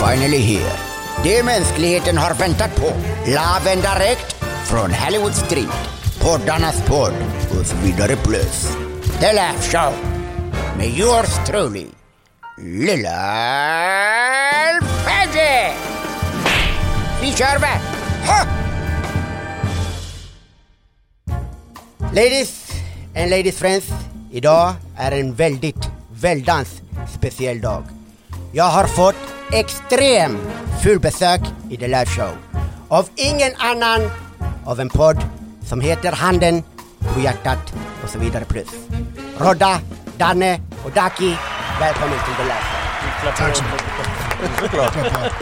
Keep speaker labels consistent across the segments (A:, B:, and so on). A: finally here. Det mänskligheten har väntat på. Laven direkt från Hollywood Street. Poddarnas podd och så vidare plus. The Laugh Show. Med yours truly, Lilla Freddy! Vi kör va! Ha! Ladies and ladies friends. Idag är en väldigt, väldans speciell dag. Jag har fått extrem fullbesök i The Live Show. Av ingen annan av en podd som heter Handen på hjärtat och så vidare plus. Rodda, Danne och Daki, välkommen till The Live Show.
B: Tack så mycket.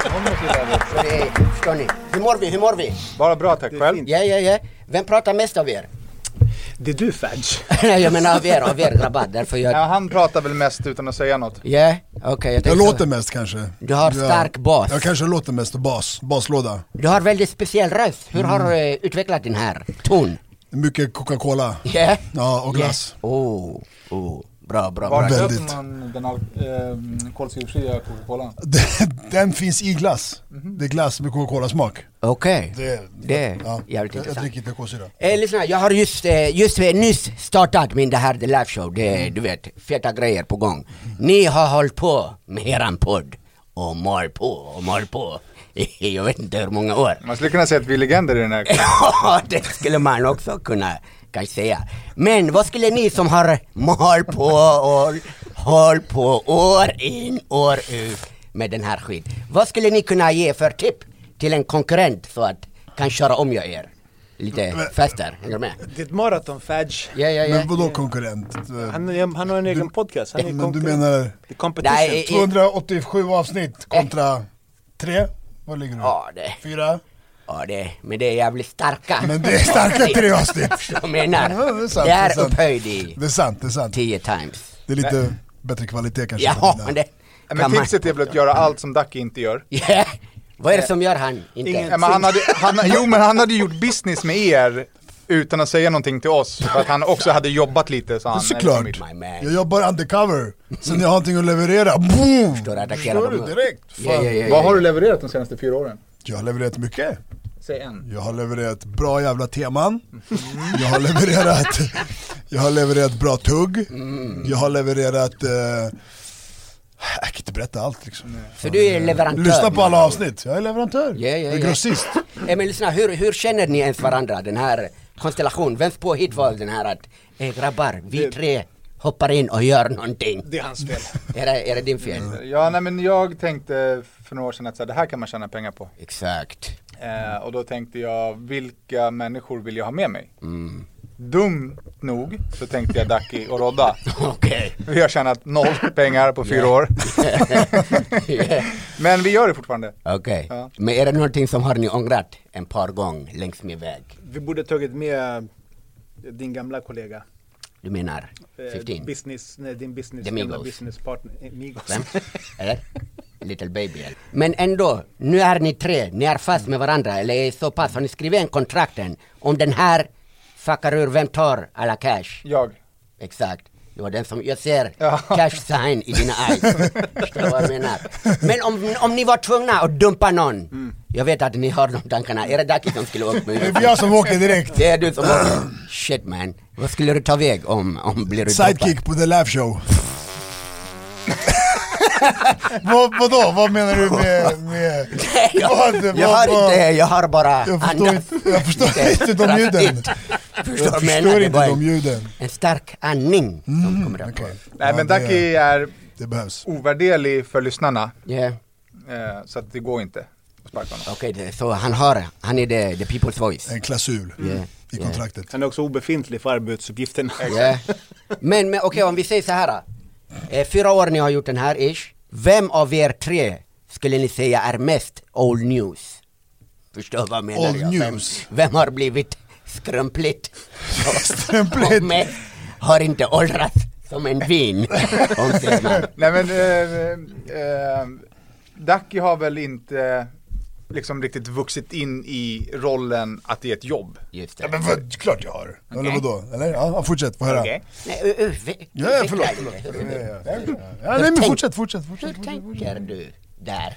A: Så det är, förstår ni? Hur mår vi? Hur mår vi?
B: Bara bra tack själv.
A: Ja, ja, ja. Vem pratar mest av er?
C: Det är du Fadge.
A: Nej, jag menar av er, av er grabbar. Därför jag...
B: Ja,
A: Ja,
B: han pratar väl mest utan att säga något.
A: okej. jag
D: Jag
A: tänkte-
D: låter mest kanske.
A: Liksom. Du har
D: Jag-
A: stark bas.
D: Jag kanske låter mest bas, baslåda.
A: Du har väldigt speciell röst. Hur
D: Mm.
A: har du eh, utvecklat den här ton?
D: Mycket Coca-Cola.
A: Yeah.
D: Ja, och glass.
A: Yeah. Oh, oh. Bra, bra,
B: Var
A: bra.
D: Väldigt.
B: köper man den äh, kolsyrefria Coca-Cola?
D: Den, den finns i glass. Det är glass med Coca-Cola-smak.
A: Okej.
D: Det,
A: Mhm. Det är jävligt
D: jag, jag
A: intressant.
D: dricker inte kolsyra.
A: Eh, lyssna, jag har just, eh, just eh, nyss startat min det här The Live Show. Det,
D: Mm.
A: är, Du vet, feta grejer på gång. Ni har hållit på med eran podd och mal på och mal på. I jag vet inte hur många år.
B: Man skulle kunna säga att vi är legender i den här.
A: Ja, det skulle man också kunna kanske säga. Men vad skulle ni som har mal på och håll på år in år ut med den här skit. Vad skulle ni kunna ge för tipp till en konkurrent så att kan köra om jag er? Lite faster, hänger du med?
C: Det är ett maraton Fadge.
A: Ja, ja, ja.
D: Men vadå konkurrent? Eh,
C: Han, är- han har en egen podcast, han är
D: Men du
C: konkurrent.
D: menar
C: Det är competition.
A: Nej, eh, i- i-
D: 287 avsnitt kontra tre? Vad ligger du?
A: Ja, det,
D: Fyra?
A: ja, det, men det är jävligt starka.
D: Men det är starka tre avsnitt.
A: Jag menar,
D: Ja, det är sant,
A: det
D: det är
A: är
D: sant.
A: upphöjd i
D: Det är sant, det är sant.
A: 10 times.
D: Det är lite bättre kvalitet kanske.
A: Ja,
D: på
A: men
D: mina.
A: det
B: Nej,
A: kan
B: Men tipset är väl att göra allt som Ducky inte gör.
A: Ja, Vad är det som gör han inte?
C: Ingen-
B: Nej, men han hade, han, jo men han hade gjort business med er utan att säga någonting till oss. För att han också hade jobbat lite så han.
D: Såklart.
A: My man.
D: Jag jobbar undercover. Sen jag har någonting att leverera. Boom!
A: Står och attackerar
D: Förstår
A: dem.
D: du direkt? Fan.
A: Ja, ja, ja, ja.
B: Vad har du levererat de senaste fyra åren?
D: Jag har levererat mycket.
B: Säg en.
D: Jag har levererat bra jävla teman. Jag har levererat, jag har levererat bra tugg.
A: Mm.
D: Jag har levererat, eh, jag kan inte berätta allt liksom.
A: Så du är leverantör?
D: Lyssna på alla avsnitt, jag är leverantör.
A: Ja, ja,
D: jag är
A: ja.
D: grossist.
A: Eh, men lyssna, hur, hur känner ni ens varandra? Den här konstellationen, vems påhitt var den här att eh, grabbar, vi tre hoppar in och gör någonting.
C: Det är hans fel.
A: Är det, är det din fel?
B: Ja nej men jag tänkte för några år sedan att så här, det här kan man tjäna pengar på.
A: Exakt.
B: Eh, och då tänkte jag, vilka människor vill jag ha med mig?
D: Mm.
B: Dumt nog så tänkte jag Ducky och Rodda.
A: Okej.
B: Vi har tjänat noll pengar på fyra år.
A: Yeah.
B: Men vi gör det fortfarande.
A: Okej.
B: Ja.
A: Men är det någonting som har ni ångrat en par gånger längs min väg?
C: Vi borde tagit med eh, din gamla kollega.
A: Du menar
C: Eh,
A: 15?
C: Business, nej, din business,
A: The
C: gamla
A: Migos.
C: businesspartner, eh, Migos.
A: Vem? Eller? Little baby. eller? Men ändå, nu är ni tre, ni är fast med varandra, eller är så pass, har ni skrivit en kontrakten? Om den här fuckar ur, vem tar alla cash?
B: Jag.
A: Exakt. Det var den som, jag ser
B: Ja.
A: cash sign i dina eyes. Förstår du vad jag menar? Men om, om ni var tvungna att dumpa någon, jag vet att ni har de tankarna, är det Daki som skulle åka
D: Det
A: med
D: är jag som åker direkt.
A: Det är du som åker. Shit man, vad skulle du ta väg om, om blir du dumpad?
D: Sidekick på The Laugh Show. vad, vadå, vad menar du med... med
A: jag, jag
D: vad- vad-
A: har
D: vad-
A: inte, jag har bara
D: Jag förstår
A: andats.
D: inte- jag förstår inte de
A: Raskt.
D: ljuden.
A: Förstår
D: Jag
A: du vad jag
D: förstår
A: menar? Det
D: inte
A: var
D: de
A: en-
D: ljuden. Mm,
A: En stark andning som kommer upp.
D: Okej.
B: Nej
D: Ja,
B: men
D: det-
B: Ducky är
D: Det behövs.
B: ovärderlig för lyssnarna.
A: Yeah.
B: Eh, så att det går inte att sparka honom.
A: Okej, det- så han har, han är the, the people's voice.
D: En klausul
A: Yeah,
D: i
A: yeah.
D: kontraktet.
C: Han är också obefintlig för arbetsuppgifterna.
A: Yeah. Men, men okej om vi säger så här. Eh, fyra år ni har gjort den här ish. Vem av er tre skulle ni säga är mest old news? Förstår vad jag menar
D: Old
A: jag?
D: news.
A: Vem, vem har blivit skrumpligt?
D: Skrumpligt.
A: Och mest har inte åldrats som en vin. om säger man.
B: Nej men eh, eh, Ducky har väl inte liksom riktigt vuxit in i rollen att det är ett jobb.
A: Just det.
D: Ja, men vad, klart jag har. Eller vadå? Eller? Ja, fortsätt, få höra.
B: Okej.
A: Nej, uh, uh, vi-
D: Ja, ja, förlåt,
A: vi-
D: förlåt.
A: vi-
D: Ja, nej men fortsätt, fortsätt,
A: Hur
D: fortsätt.
A: tänker du där?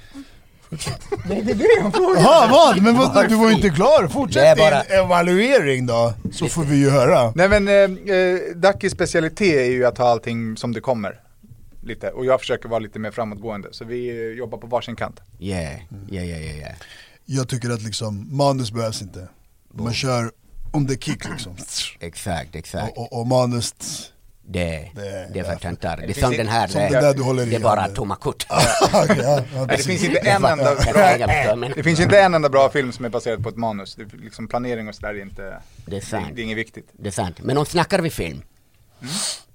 C: Nej, det är det jag frågar.
D: Jaha, vad? Men vad, du var ju inte klar.
A: Det är
D: Fortsätt
A: bara-
D: din evaluering då, så får vi ju höra.
B: Nej men eh, eh, Dackis specialitet är ju att ha allting som det kommer. Lite. Och jag försöker vara lite mer framåtgående. Så vi eh, jobbar på varsin kant.
A: Yeah, yeah, yeah, yeah. yeah.
D: Jag tycker att liksom, manus behövs inte. Man kör on the kick liksom.
A: Exakt, exakt.
D: Och, och, och manus,
A: Det,
D: Det-
A: det är för töntar. Det är
B: finns
A: som
B: inte-
A: den här. eh,
D: som
A: det-
D: den där du håller i
A: Det är bara
D: handen.
A: tomma kort.
D: Ah, Okej, ja, ja,
B: Nej, det
D: precis.
B: finns inte en enda
A: Jag
B: bra,
A: kan inte, men
B: det finns inte en enda bra film som är baserad på ett manus. Det, är liksom planering och sådär är inte,
A: Det är sant.
B: det är inget viktigt.
A: Det är sant. Men om snackar vi film.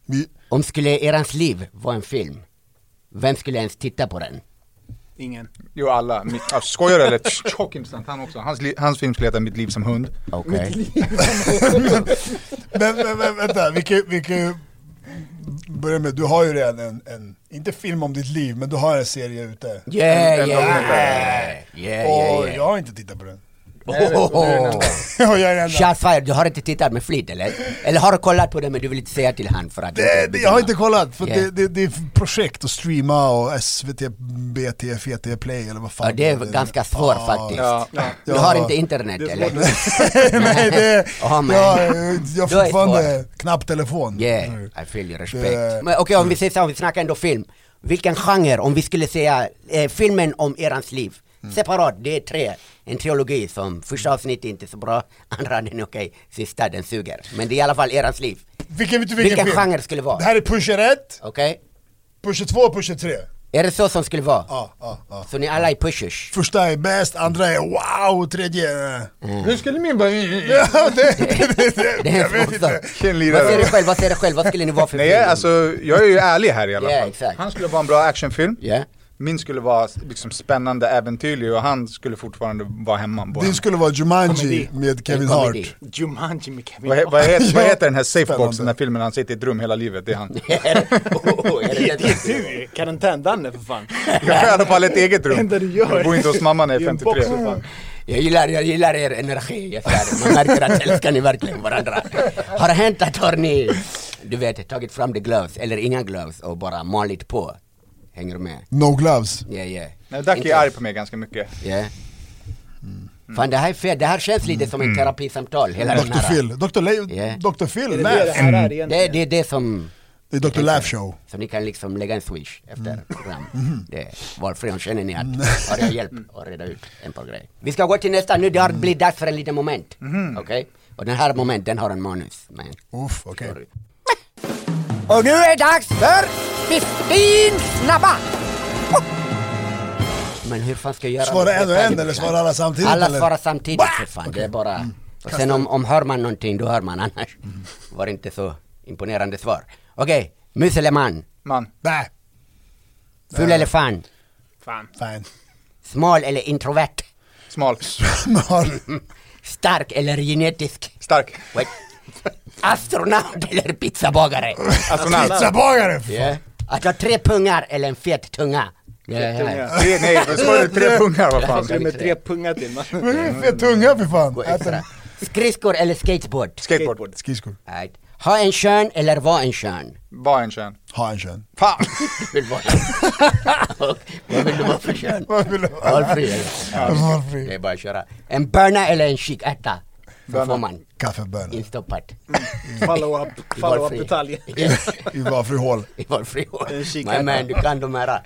D: Vi,
A: Om skulle erans liv vara en film. Vem skulle ens titta på den?
C: Ingen.
B: Jo alla, mitt, ah, skojar du eller? Tjock intressant han också. Hans, li, hans film skulle heta Mitt liv som hund.
A: Okej.
D: men, men, men vänta, vi kan, ju- vi kan ju börja med, du har ju redan en, en, inte film om ditt liv, men du har en serie ute.
A: Yeah, yeah,
B: en
A: yeah, yeah, yeah,
D: Och
A: yeah.
D: jag har inte tittat på den.
A: Ohoho.
D: Och jag är den enda.
A: Shots fired, du har inte tittat med flit eller? Eller har du kollat på det men du vill inte säga till han för att...
D: Det, det, jag har inte kollat, för
A: Yeah.
D: det, det, det är projekt att streama och SVT, BT, FT E Play eller vad fan
A: Ja, det är ganska svårt faktiskt.
B: Ja.
A: Du har
D: Ja.
A: inte internet eller?
D: Nej det,
A: Ja, men.
D: jag, jag har
A: Du är
D: fortfarande knappt telefon. Mm.
A: Yeah, I feel your respect.
D: Det-
A: Men okej om vi säger så, här, om vi snackar ändå film. Vilken genre, om vi skulle säga eh, filmen om erans liv.
D: Mm.
A: Separat, det är tre. En trilogi som första avsnittet är inte så bra, andra den är okej, sista den suger. Men det är i alla fall erans liv.
D: Vilken, vet du vilken,
A: Vilken
D: film?
A: genre skulle det vara?
D: Det här är pusher 1,
A: Okej?
D: pusher 2 och pusher 3.
A: Är det så som skulle vara?
D: Ja, ja, ja.
A: Så ni alla är pushers?
D: Första är bäst, andra är wow, tredje... eh.
A: Mm.
B: Hur skulle min bara...
D: Ja, det, det, det,
A: Det
D: det,
A: är
D: jag
A: en
D: vet
A: fråga.
D: inte.
A: Vad säger du
B: Skenlirare.
A: själv, vad säger du själv, vad skulle ni vara för
B: Nej
A: film?
B: alltså, jag är ju ärlig här i alla
A: Ja,
B: fall.
A: exakt.
B: Han skulle vara en bra actionfilm.
A: Ja.
B: Min skulle vara liksom spännande, äventyrlig och han skulle fortfarande vara hemma. Både.
D: Din skulle vara Jumanji
C: Komedi.
D: med Kevin
A: En komedi.
D: Hart.
C: Jumanji med Kevin
B: Vad, he- vad, heter, vad heter den här
D: Spännande.
B: safeboxen, den här filmen han sitter i ett rum hela livet? Det är han.
A: Är det- oh, är det
C: Det
A: det du
C: är
A: skulle vara?
C: du! Karantän-Danne för fan.
B: Jag har i alla fall ett eget rum.
C: Enda du gör.
B: Jag bor inte hos mamma när jag
C: I
B: är
C: en box
B: 53.
C: för fan.
A: Jag gillar, jag gillar er energi, jag säger det. Man märker att älskar ni verkligen varandra. Har det hänt att har ni, du vet, tagit fram the gloves, eller inga gloves och bara malit på? Hänger du med?
D: No gloves.
A: Ja, ja.
B: Nej, Ducky
A: Inte-
B: är arg på mig ganska mycket.
A: Ja. Fan det här är fel, det här känns lite som ett terapisamtal, hela den
D: Dr
A: här.
D: Phil. Dr. Le-
A: Yeah.
D: Dr. Phil,
C: Är det det det
D: laugh.
C: här är
A: Mm. Det,
C: egentligen?
A: det är det som
D: Det är Dr. Laugh Show. Mm. Mm-hmm.
A: Så ni kan liksom lägga en swish efter program. Det är valfri. Om känner ni att har jag
D: Mm.
A: hjälp att reda ut en par grejer. Vi ska gå till nästa nu. Det har blivit dags för en liten moment.
D: Mm-hmm.
A: Okej? Och den här momenten har en manus. Men...
D: Uff, okej.
A: Och nu är det dags för Oh. 15 snabba! Men hur fan ska jag göra?
D: Svara en och en eller
A: svara
D: svara alla samtidigt?
A: Alla
D: eller? Mm.
A: svarar samtidigt för fan, det är bara... Och sen om, om hör man någonting, då hör man annars. Var inte så imponerande svar. Okej, mus eller man?
B: Man,
D: Nej,
A: Ful eller fan?
C: Fan.
D: fan.
A: Smal eller introvert?
B: smal,
D: Har-
A: Stark eller genetisk?
B: stark.
A: Wait. Astronaut eller pizzabagare?
B: Astronaut.
D: Pizzabagare! f-
A: Yeah. Att ha tre pungar eller en fet tunga?
C: tunga.
B: Tre, nej, vad ska du? Tre pungar, vad fan.
C: Det är med tre pungar till man.
D: Men det är Fet tunga för fan.
A: Gå
D: Äter
A: extra. Skridskor eller skateboard?
B: Skateboard.
D: Skridskor.
A: Right. Ha en kön eller vara en kön?
B: Var en kön.
D: Ha en kön.
B: Fan!
A: Vill vara. Och Vad vill du vara för kön?
D: Vad vill du vara?
A: Valfri eller?
D: Valfri.
A: Det är bara att köra. En böna eller en kikärta? Då
B: Böna.
A: får man
D: Kaffebönor.
A: instoppat.
B: Mm.
C: Follow-up,
A: I
C: follow-up
A: valfri-
C: detaljer.
D: I valfri hål.
A: I valfri hål.
C: En kikärta.
A: Men, men du kan de här. äh,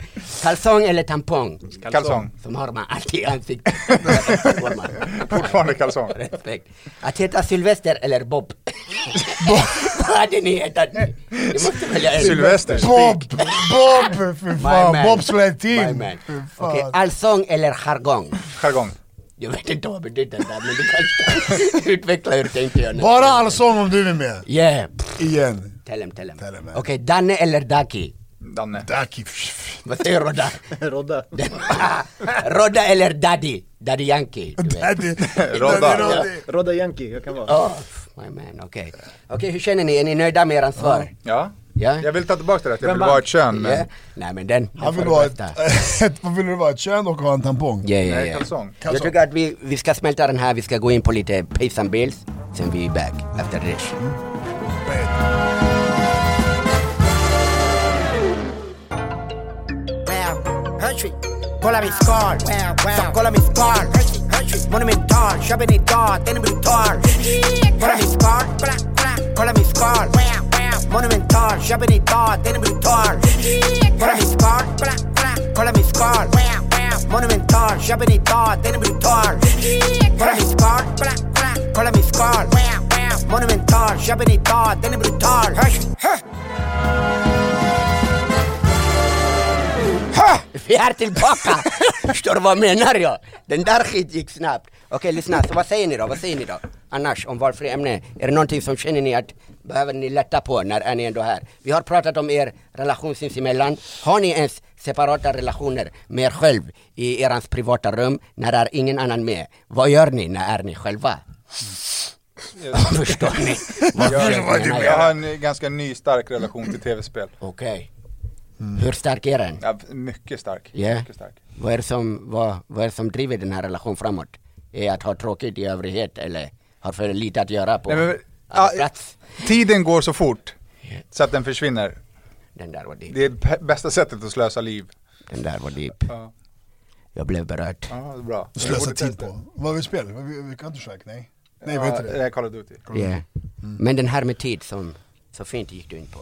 A: Kalsong eller tampong?
B: Kalsong.
A: Som har man alltid i ansiktet. Får man.
B: Fortfarande kalsong.
A: Respekt. Att heta Sylvester eller Bob? Vad hade ni hetat nu? Ni måste välja en.
B: Sylvester.
D: Bob! Bob! Fy
A: My
D: fan.
A: man.
D: Bobsled
A: My
D: team.
A: man.
D: Fy fan.
A: Okej, allsång eller jargong?
B: Jargong.
A: Jag vet inte vad betyder det där men du kanske utveckla hur tänkte jag nu.
D: Bara allsång om du är med.
A: Yeah,
D: Igen.
A: tell him, tell him.
D: Tell him,
A: Okej,
D: man.
A: Danne eller Daki?
B: Danne.
D: Daki.
A: Vad säger Rodda?
C: Rodda.
A: Rodda eller Daddy? Daddy Yankee? du vet.
D: Daddy.
B: Rodda.
D: Rodda.
C: Rodda Yankee, jag kan vara.
A: Oh, my man, okej. Okej, hur känner ni? Är ni nöjda med eran svar?
B: Ja.
A: Ja.
B: Jag vill ta tillbaka det där att jag
C: Vem
B: vill
C: vann?
B: vara ett kön, men...
A: Ja. Nej men den, den
D: Han
A: får
D: vill
A: du
D: vara
A: bästa.
D: ett, ett, vad vill du vara? Ett kön och ha en tampong?
A: Ja, ja,
B: Nej,
A: ja.
B: kalsong.
A: Jag tycker att vi, vi ska smälta den här, vi ska gå in på lite pace and bills, sen vi är back after this.
E: Well, Hershey,
A: kolla min skal. Så kolla min skal. Monumental, köper idag, den är brutal. Kolla min skal. Kolla min skal. Monumental, köper idag, den är brutal. Kolla min skal. Kolla min skal. Monumental, köper idag, den är brutal. Kolla min skal. Kolla min skal. Monumental, köper idag, den är brutal. Hörs. Hörs. Ha! Vi är tillbaka! Förstår du vad menar jag? Den där skit gick snabbt. Okej, lyssna, så vad säger ni då? Vad säger ni då? Annars, om valfri ämne, är det någonting som känner ni att behöver ni lätta på när är ni ändå här? Vi har pratat om er relation sinsemellan. Har ni ens separata relationer med er själv i erans privata rum när är ingen annan med? Vad gör ni när är ni själva? Förstår ni? Vad försöker jag
B: Jag har
A: göra?
B: en ganska ny stark relation till tv-spel.
A: Okej. Hur stark är den?
B: Ja, mycket stark.
A: Ja.
B: Mycket stark.
A: Vad är det som, vad, vad är det som driver den här relationen framåt? Är att ha tråkigt i övrighet eller har för lite att göra på
B: Nej, men-
A: arbetsplats?
B: Tiden går så fort så att den försvinner.
A: Den där var deep.
B: Det är p- bästa sättet att slösa liv.
A: Den där var deep.
B: Ja,
A: Jag blev berörd.
B: ja det är bra. Jag
D: Slösa
B: borde
D: tid
B: testa.
D: på. Vad vi spelar? Vad vi- vi- Counter-Strike? Nej? Nej vad
B: Ja,
D: heter
B: det
D: det?
B: är Call of Duty.
A: Yeah.
B: Mm.
A: Men den här med tid som så fint gick du in på.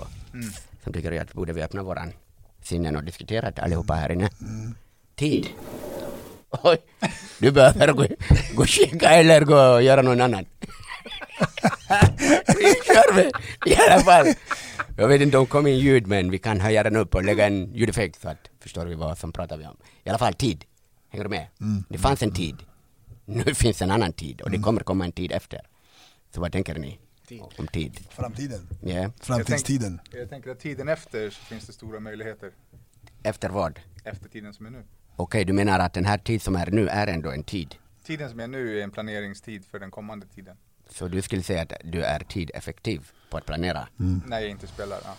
A: Som tycker jag att borde vi öppna våran sinnen och diskutera det allihopa här inne.
B: Mm.
A: Tid. Oj, du behöver gå, gå och kika eller gå och göra någon annan. vi kör vi i alla fall. Jag vet inte om det kom in ljud men vi kan höja den upp och lägga en ljudeffekt så att förstår vi vad som pratar vi om. I alla fall tid. Hänger du med? Det fanns en tid. Nu finns en annan tid och det kommer komma en tid efter. Så vad tänker ni? Om tid?
D: Framtiden.
A: Ja.
D: Framtidstiden.
B: Jag tänker, jag tänker att tiden efter så finns det stora möjligheter.
A: Efter vad?
B: Efter tiden som är nu.
A: Okej, du menar att den här tid som är nu är ändå en tid?
B: Tiden som är nu är en planeringstid för den kommande tiden.
A: Så du skulle säga att du är tideffektiv på att planera?
D: Mm.
B: När jag inte spelar. Ja.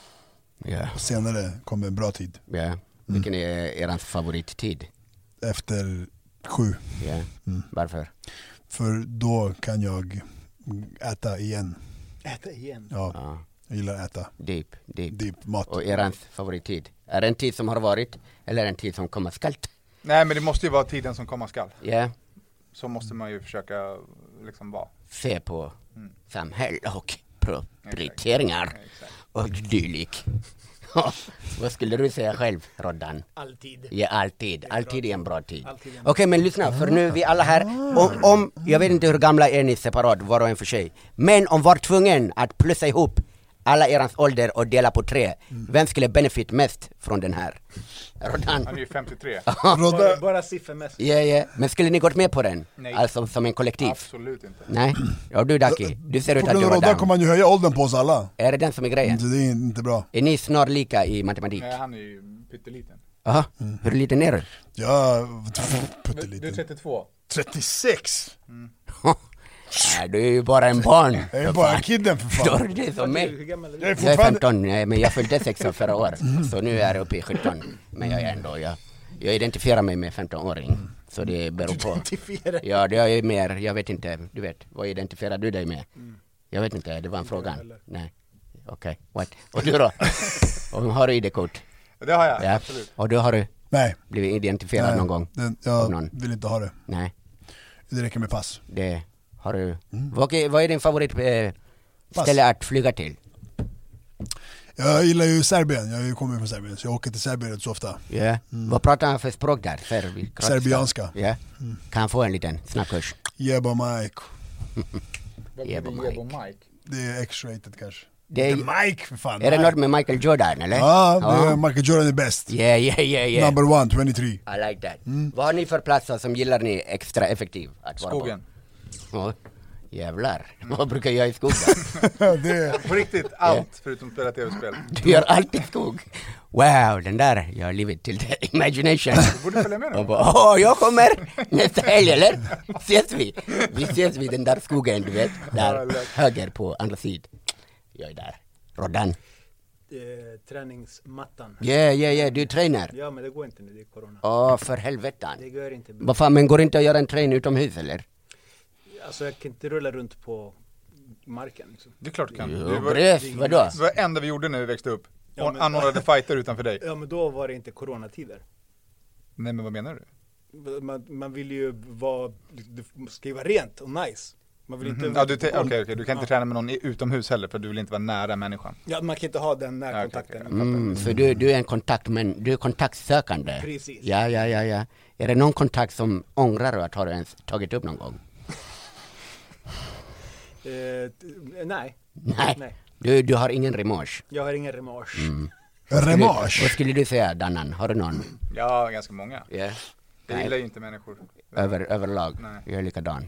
A: Ja.
D: Och senare kommer en bra tid.
A: ja. Vilken är er favorittid?
D: Efter sju.
A: Ja. Varför?
D: För då kan jag äta igen.
C: Äta igen.
D: Ja,
A: Ja.
D: jag gillar att äta.
A: Deep, deep.
D: Deep mat.
A: Och er favorittid? Är det en tid som har varit eller en tid som kommer skall?
B: Nej men det måste ju vara tiden som komma skall.
A: Ja.
B: Så måste man ju försöka liksom vara.
A: Se på samhälle och prioriteringar
B: Exakt.
A: och dylik. Vad skulle du säga själv, Roddan?
C: Alltid.
A: Ja, alltid. Alltid är en bra tid.
C: Alltid är en
A: Okej, men lyssna, för nu är vi alla här. Om, om, jag vet inte hur gamla är ni separat, var och en för sig. Men om var tvungen att plussa ihop alla erans ålder och dela på tre, vem skulle benefit mest från den här? Rodan?
B: Han är ju 53.
C: Bara,
D: Rodda,
C: bara siffermässigt.
A: Ja, ja. Men skulle ni gått med på den?
B: Nej.
A: Alltså som en kollektiv?
B: Absolut inte.
A: Nej? Ja, du Daki, du ser ut
D: på
A: att
D: grund
A: du
D: av
A: var
D: Rodda kommer
A: down.
D: han ju höja åldern på oss alla.
A: Är det den som är grejen?
D: Så det är inte bra.
A: Är ni snarlika i matematik?
B: Nej han är ju pytteliten.
A: Aha. Hur liten är du?
D: Jag
B: Du är
A: Mm.
D: putteliten.
B: 32.
D: 36!
A: Nej, du är ju bara en barn.
D: Jag är
A: för
D: bara
A: fan.
D: kidden för
A: Förstår
D: fan.
A: du? Det är som
C: Hur
A: mig.
C: gammal är
D: Jag
C: du?
D: är
A: Jag är
D: fortfarande...
A: 15, nej, men jag fyllde 16 förra året. Så nu är jag uppe i 17. Men jag är ändå, jag, jag identifierar mig med 15-åring. Så det beror på.
C: Identifiera.
A: Ja, det är mer, jag vet inte, du vet, vad identifierar du dig med? Jag vet inte, det var en fråga. Nej, okej, what? Och du då? Och har du ID-kort?
B: Det har jag,
A: Ja.
B: absolut.
A: Och du har du
D: Nej.
A: blivit identifierad
D: nej.
A: någon gång?
D: Den,
A: Av
D: jag
A: någon?
D: vill inte ha det.
A: Nej,
D: Det räcker med pass.
A: det har du. Vad, är- vad är din favorit eh,
D: Mm. Pass.
A: ställe att flyga till?
D: Jag gillar ju Serbien, jag är ju- kommer ju från Serbien så jag åker till Serbien rätt så ofta.
A: Ja, vad pratar han för språk där? Serbi- kroatiska?
D: Mm. Serbianska. Mm.
A: Ja, kan jag få en liten snabbkurs?
D: Jeba Mike.
B: Vad
A: Jebo
B: blir det? Jebo
A: Mike.
B: Mike?
D: Det är X-rated kanske.
A: Det är-
D: The Mike för fan.
A: Är det
D: Mike.
A: något med Michael Jordan eller?
D: Ja, det är Michael Jordan är bäst.
A: Yeah, yeah, yeah, yeah.
D: Number Mm. one, 23.
A: I like that. Vad har ni för platser som gillar ni extra effektiv att vara
B: Skogen.
A: på? Ja. Jävlar, vad brukar jag i skogen?
D: det är,
B: På riktigt, allt förutom att spela tv-spel.
A: du gör alltid skog. Wow, den där, jag har livet till the imagination.
B: Du borde följa med
A: Och
B: nu.
A: bara, åh, jag kommer nästa helg eller? Ses vi? Vi ses vid den där skogen du vet, där höger på andra sidan. Jag är där. Roddan.
C: Eh, träningsmattan.
A: Yeah, yeah, yeah, du tränar.
C: Ja men det går inte nu, det är corona.
A: Åh, för helvetan.
C: Det går inte bra.
A: Vad fan, men går det inte att göra en träning utomhus eller?
C: Alltså jag kan inte rulla runt på marken liksom.
B: Det är klart du kan. Du
A: Jo,
B: var-
A: bröst, vadå?
B: Det var det enda vi gjorde när vi växte upp.
C: Ja, men-
B: Anordnade fighter utanför dig.
C: Ja men då var det inte coronatider.
B: Nej men vad menar du?
C: Man, man vill ju vara, du ska ju vara rent och nice. Man vill inte...
B: Mhm. Ja, du, te- okej, okej, du kan inte träna med någon i- utomhus heller för du vill inte vara nära människan.
C: Ja, man kan inte ha den närkontakten.
B: Ja,
A: Mm, så du, du är en kontakt, men du är kontaktsökande?
C: Precis.
A: Ja, ja, ja, ja. Är det någon kontakt som ångrar du att har du ens tagit upp någon gång?
C: Eh, t- nej,
A: Nej.
C: Nej.
A: Du, du har ingen remorse.
C: jag har ingen remage.
B: Mm.
A: Vad
D: Remage.
A: skulle du säga, Dannan? Har du någon?
B: Ja, ganska många.
A: Ja.
B: Jag
A: Nej.
B: gillar ju inte människor.
A: Över, överlag?
B: Nej.
A: Jag är likadan.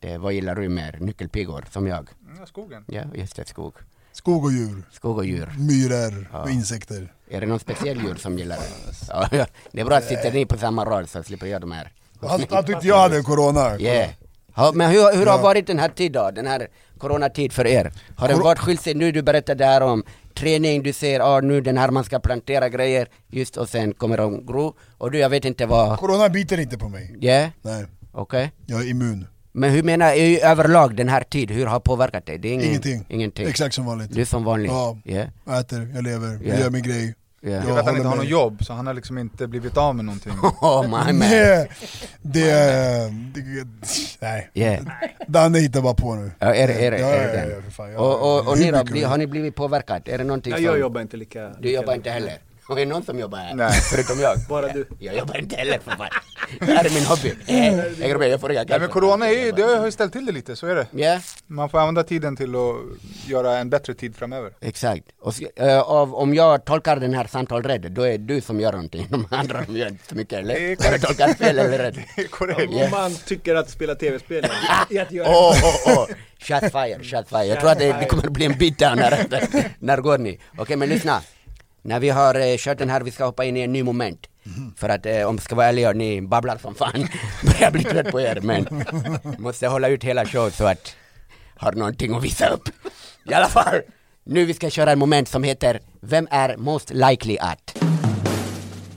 A: Det, vad gillar du mer? Nyckelpigor, som jag?
B: Mm, Ja, skogen.
A: Ja, just det, skog.
D: Skog och djur,
A: Skog och djur.
D: myror och insekter.
A: Är det någon speciell djur som gillar det? Ja, ja. Det är bra att sitter ni på samma rad så slipper jag de här.
D: Han, han tyckte jag hade corona.
A: Yeah. Ja, men hur, hur har varit den här tiden då? Den här coronatid för er? Har det
D: Cor-
A: varit skilt sig nu? Du berättade där om träning, du säger ah, nu den här man ska plantera grejer just och sen kommer de gro och du jag vet inte vad...
D: Corona biter inte på mig.
A: Ja, yeah?
D: Nej,
A: okej.
D: jag är immun.
A: Men hur menar du överlag den här tiden, hur har påverkat dig? Det är ingen,
D: Ingenting.
A: Mm. Ingenting.
D: Exakt som vanligt.
A: Du är som vanligt?
D: Ja.
A: Yeah.
D: Jag äter, jag lever,
A: Ja.
D: jag gör min grej.
A: Ja.
D: Jag
A: Det är
B: Det är för att han
D: håller
B: inte har
D: mig.
B: något jobb, så han har liksom inte blivit av med någonting.
A: Oh my man.
D: Nej, det, är- det, nej.
A: Yeah.
D: Danne hittar bara på nu.
A: Ja, är, det- är, det-
D: Ja,
A: är
D: ja,
A: det
D: ja,
A: den?
D: ja, för fan, jag-
A: och och, och ni då,
D: mycket
A: bli,
D: roligt.
A: har ni blivit påverkad? Är det någonting
C: Ja,
A: som...
C: jag jobbar inte lika...
A: Liksom. Du
C: lika
A: jobbar
C: länge.
A: inte heller? Och är det någon som jobbar här?
B: Nej.
A: Förutom jag?
C: Bara du.
A: Jag jobbar inte heller för fan. Det här är min hobby. Eh, Jag grabbar, jag får ringa
B: Nej men corona är ju, det har ju ställt till det lite, så är det.
A: Ja,
B: Man får använda tiden till att göra en bättre tid framöver.
A: exakt. Och, så- eh, av, om jag tolkar den här samtalet rätt, då är det du som gör någonting. De andra de gör inte så mycket,
B: Det är
A: eller? Har jag
B: korrekt.
A: tolkat fel eller rätt?
B: Korrekt.
C: Om man tycker att spela tv-spel är att göra
A: Åh, åh, åh! Shot fire, shot fire. Jag tror att det, det kommer att bli en bit där när, när går ni? Okej, men lyssna. När vi har eh, kört den här, vi ska hoppa in i en ny moment. För att eh, om jag ska vara ärlig, ni babblar som fan. Börjar bli trött på er, men måste hålla ut hela show så att har någonting att visa upp. I alla fall, nu vi ska köra en moment som heter Vem är most likely att?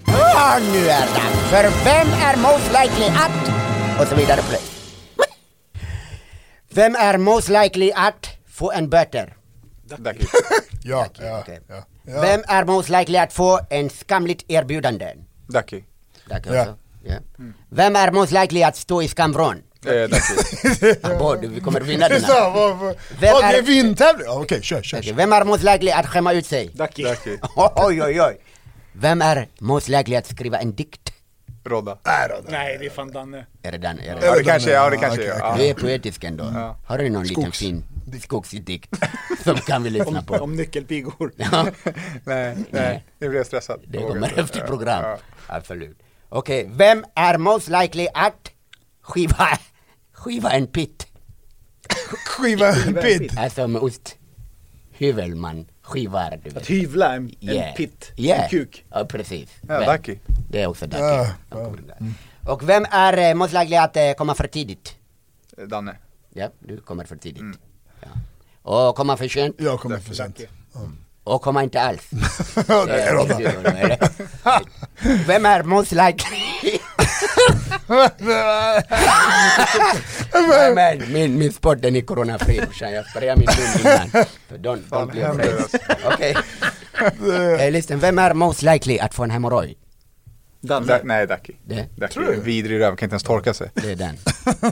A: Ja, nu är det dags för Vem är most likely att? Och så vidare. på det. Vem är most likely att få en böter?
B: Tack.
D: Ja, ja,
A: Okej.
D: ja. ja.
A: Vem är most likely att få en skamligt erbjudande?
B: Ducky.
A: Tack
D: Ja.
A: också. Ja. Vem är most likely att stå i skamvrån?
B: Eh, Ducky.
A: Abbo, du, vi kommer vinna
D: Det är
A: den
D: så här,
A: här.
D: vad- vad-
A: Vem
D: vad, det
A: är-
D: är vintävling? Ja, Okej, kör, kör.
A: Okej,
D: kör.
A: Vem är most likely att skämma ut sig?
C: Ducky.
B: Ducky.
A: Oj, oj, oj. Vem är most likely att skriva en dikt?
B: Rodda.
D: Nej då, nej.
C: Nej, det är fan Danne.
A: Är det den? Är det
B: Ja det
D: Rodda,
B: kanske är, ja det
D: ja,
B: kanske
D: okej,
B: är.
D: okej.
B: ja.
A: Du är poetisk ändå. Har du någon liten
D: Skogs-
A: fin skogsdikt som kan vi lyssna
C: Om,
A: på?
C: om nyckelpigor.
A: Ja.
B: Nej, nej, nu blev jag stressad.
A: Det
B: Jag
A: kommer
B: vågar inte.
A: efter program.
B: Ja.
A: Absolut. Okej, vem är most likely att skiva, skiva en pitt?
D: Skiva en bit.
A: Alltså med ost. Hyvelman skivar du
C: Att
A: vet.
C: hyvla en, en
A: Yeah.
C: pitt,
A: Yeah.
C: en kuk.
A: Ja, precis.
B: Ja,
A: Vem?
B: Ducky.
A: Det är också Ducky.
D: Ja, Mm.
A: Jag kommer ihåg det. Och vem är eh, most likely att eh, komma för tidigt?
B: Eh, Danne.
A: Ja, du kommer för tidigt.
C: Mm.
A: Ja. Och komma för sent?
D: Jag kommer för sent.
A: Och komma inte alls.
D: Ja,
A: Det
D: det
A: är
D: är
A: också
D: Rodda.
A: Eh, du, Ronny, eller? Vem är most likely? Nej men min, min sport den är coronafri brorsan, jag sprayar min mun innan. Så don't, don't be
B: händer
A: afraid.
D: alltså.
A: Okej. Eh, Listen, vem är most likely att få en hemorrojd?
B: Da-
C: Danne.
B: nej, Ducky.
A: Det-
B: Ducky är en vidrig röv, kan inte ens torka sig.
A: Det är den.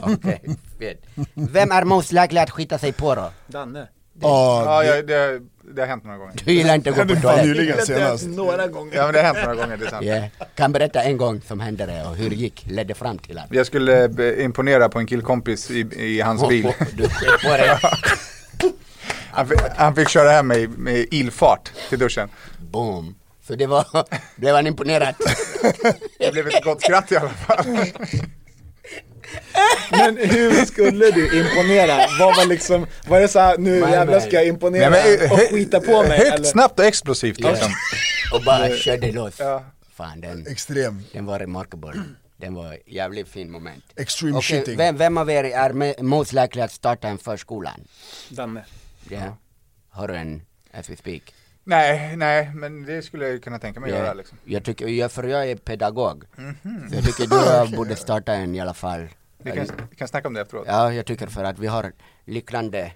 A: Okej, fet. Vem är most likely att skita sig på då?
C: Danne.
D: Ja,
B: Ja, jag, det, det har hänt några gånger.
A: Du gillar inte att gå
D: Det
A: på
D: är fan
A: toaletten.
D: nyligen.
C: Jag har inte
D: senast.
C: haft Några gånger.
B: Ja, men det har hänt några gånger, det är sant.
A: Yeah. Kan berätta en gång som hände det och hur det gick, ledde fram till att...
B: Jag skulle eh, be- imponera på en killkompis i, i hans bil.
A: Du ser på dig.
B: Han, fick- han fick köra hem mig med ilfart till duschen.
A: Boom. Så det var, blev han imponerad?
B: Det blev ett gott skratt i alla fall.
C: Men hur skulle du imponera? Vad var liksom, var det såhär, nu
A: Nej,
C: jävlar
A: nej. eh,
C: ska jag imponera
B: Nej, men,
C: och
B: hö-
C: skita på mig? eller?
B: Högt, snabbt och explosivt liksom.
A: Och bara körde loss.
B: Ja.
A: Fan den,
D: Extrem.
A: den var remarkable. Den var jävligt fin moment.
D: Extreme
A: Okej,
D: shitting.
A: vem, vem av er är me- most likely att starta en förskola?
C: Danne.
A: Ja. Har du en as we speak?
B: Nej, nej, men det skulle jag ju kunna tänka mig att
A: Ja.
B: göra liksom.
A: Jag tycker, jag, för jag är pedagog. Så jag tycker du borde starta en i alla fall.
B: Vi kan, vi kan snacka om det efteråt.
A: Ja, jag tycker för att vi har liknande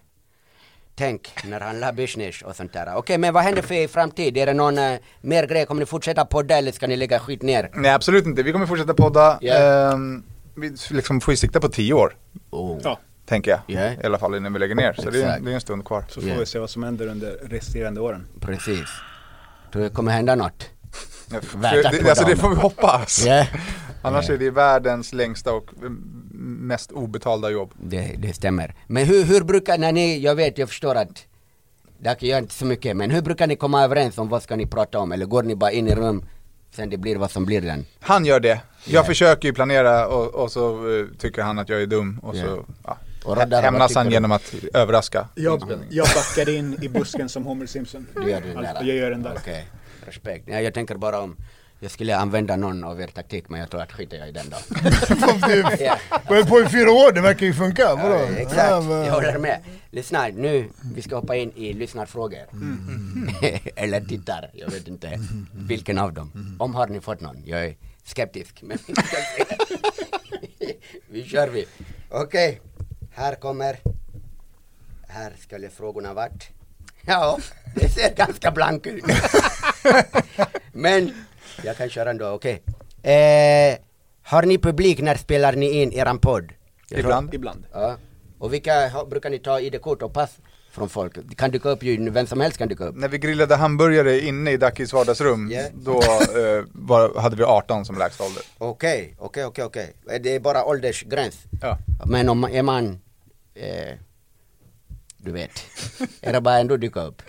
A: tänk när han la business och sånt där. Okej, men vad händer för er i framtid? Är det någon eh, mer grej? Kommer ni fortsätta podda eller ska ni lägga skit ner?
B: Nej absolut inte, vi kommer fortsätta podda.
A: Yeah.
B: Ehm, vi liksom får ju sikta på tio år,
A: Oh.
C: Ja,
B: tänker jag.
A: Yeah.
B: I alla fall innan vi lägger ner, så det är,
A: Exakt.
B: det är en stund kvar.
C: så får
A: Yeah.
C: vi se vad som händer under resterande åren.
A: Precis. Tror det kommer hända något?
B: Jag-
A: Värt att
B: det, alltså
A: podda
B: det får
A: om.
B: vi hoppas.
A: Ja,
B: Annars är det världens längsta och mm, mest obetalda jobb.
A: det, det stämmer. Men hur, hur brukar, när ni, jag vet, jag förstår att Daki gör inte så mycket, men hur brukar ni komma överens om vad ska ni prata om? Eller går ni bara in i rum, sen det blir vad som blir den?
B: Han gör det. Jag försöker ju planera och, och så eh, tycker han att jag är dum och
A: Yeah.
B: så ja.
A: Och Radar, vad
B: hämnas
A: tycker
B: han
A: du?
B: genom att överraska.
C: Jag, jag backar in i busken som Homer Simpson.
A: Du gör den där?
C: Alltså, Jag gör den där.
A: Okej, respekt. Ja, jag tänker bara om jag skulle använda någon av er taktik, men jag tror att skiter jag i den då. Ja.
D: Men på i fyra år, det verkar ju funka. Vadå?
A: Ja, exakt,
D: Ja,
A: jag
D: men-
A: håller med. Lyssna, nu vi ska hoppa in i lyssnarfrågor. Eller tittar, jag vet inte vilken av dem. Om har ni fått någon? Jag är skeptisk. Men vi, ska se. vi kör vi. Okej, här kommer. Här skulle frågorna varit. Ja, det ser ganska blank ut. Men jag kan köra ändå, okej. Eh, har ni publik när spelar ni in eran podd? Jag tror-
B: Ibland.
C: Ibland.
A: Ja. Och vilka ha- brukar ni ta ID-kort och pass från folk? Det kan dyka upp ju, vem som helst kan dyka upp.
B: När vi grillade hamburgare inne i Dakis vardagsrum,
A: Yeah.
B: då eh, var, hade vi 18 som lägsta ålder.
A: Okej, okej, okej, okej. Eh, Det är bara åldersgräns.
B: Ja.
A: Men om man- är man, eh, du vet, är det bara ändå dyka upp?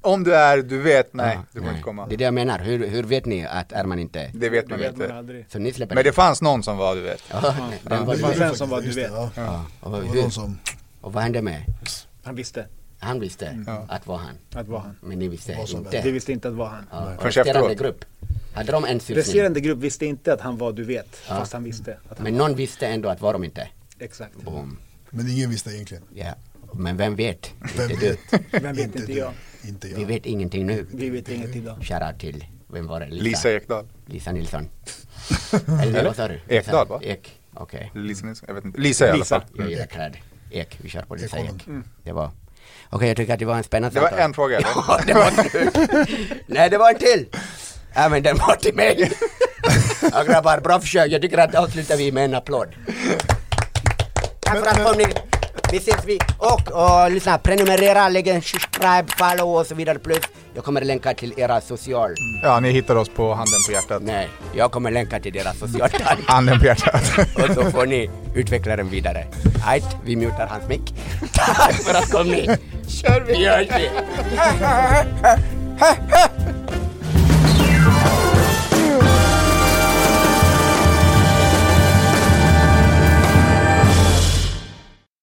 B: Om du är, du vet, nej,
A: Ja,
B: du får inte komma.
A: Det är det jag menar, hur, hur vet ni att är man inte?
B: Det vet
C: Det
B: man
C: vet man
B: inte.
C: aldrig.
A: Så ni släpper
B: Men det
A: inte?
B: fanns någon som var, du vet.
A: Ja, den var
C: det
A: du
C: fanns
A: vet.
C: en som var, du
D: Just det,
C: vet.
D: ja.
A: Ja, och,
D: Det
A: vad-
D: var någon
A: hur,
D: som...
A: och vad hände med?
C: Han visste
A: Han visste att var han,
C: att det var han.
A: men ni visste
D: Vad som
A: inte.
C: Vi visste inte att det var han.
A: Ja, och
B: Först
A: resterande
B: efteråt.
A: grupp, hade de en susning?
C: Resterande grupp visste inte att han var, du vet. Fast han visste. Att han,
A: Men någon visste ändå att var de inte?
C: exakt.
A: Boom.
D: Men ingen visste egentligen.
A: Ja, men vem vet?
D: Vem
A: Inte du.
D: vet?
C: Vem vet inte
D: du.
C: jag.
D: Inte
A: Vi
D: jag.
A: vet ingenting nu.
C: Vi vet inget idag.
A: Shoutout till, vem var det?
B: Lisa Ekdahl.
A: Lisa Nilsson. Eller vad sa du?
B: Ekdahl, va?
A: Ek, okej.
B: Lisa Nilsson, jag vet inte. Lisa i alla
C: Lisa.
B: fall.
A: Jag gillar kläd. Ek, vi kör på Lisa
D: Ekonomen.
A: Ek. Det var... Okej, jag tycker att det var en spännande
B: Mm. Det var
A: samtal.
B: en fråga, eller?
A: Ja, det var Nej, det var en till! Ja, men den var till mig. ja, grabbar, bra försök. Jag tycker att avslutar vi med en applåd. Tack för att kom ni. Vi ses vi. Och, och lyssna, prenumerera, lägg en subscribe, follow och så vidare. Plus, jag kommer länka till era social...
B: Ja, ni hittar oss på handen på hjärtat.
A: Nej, jag kommer länka till deras sociala.
B: Handen på hjärtat.
A: Och så får ni utveckla den vidare. Ajt, vi mutar hans mick. Tack för att kom ni. Kör vi. Vi hörs vi.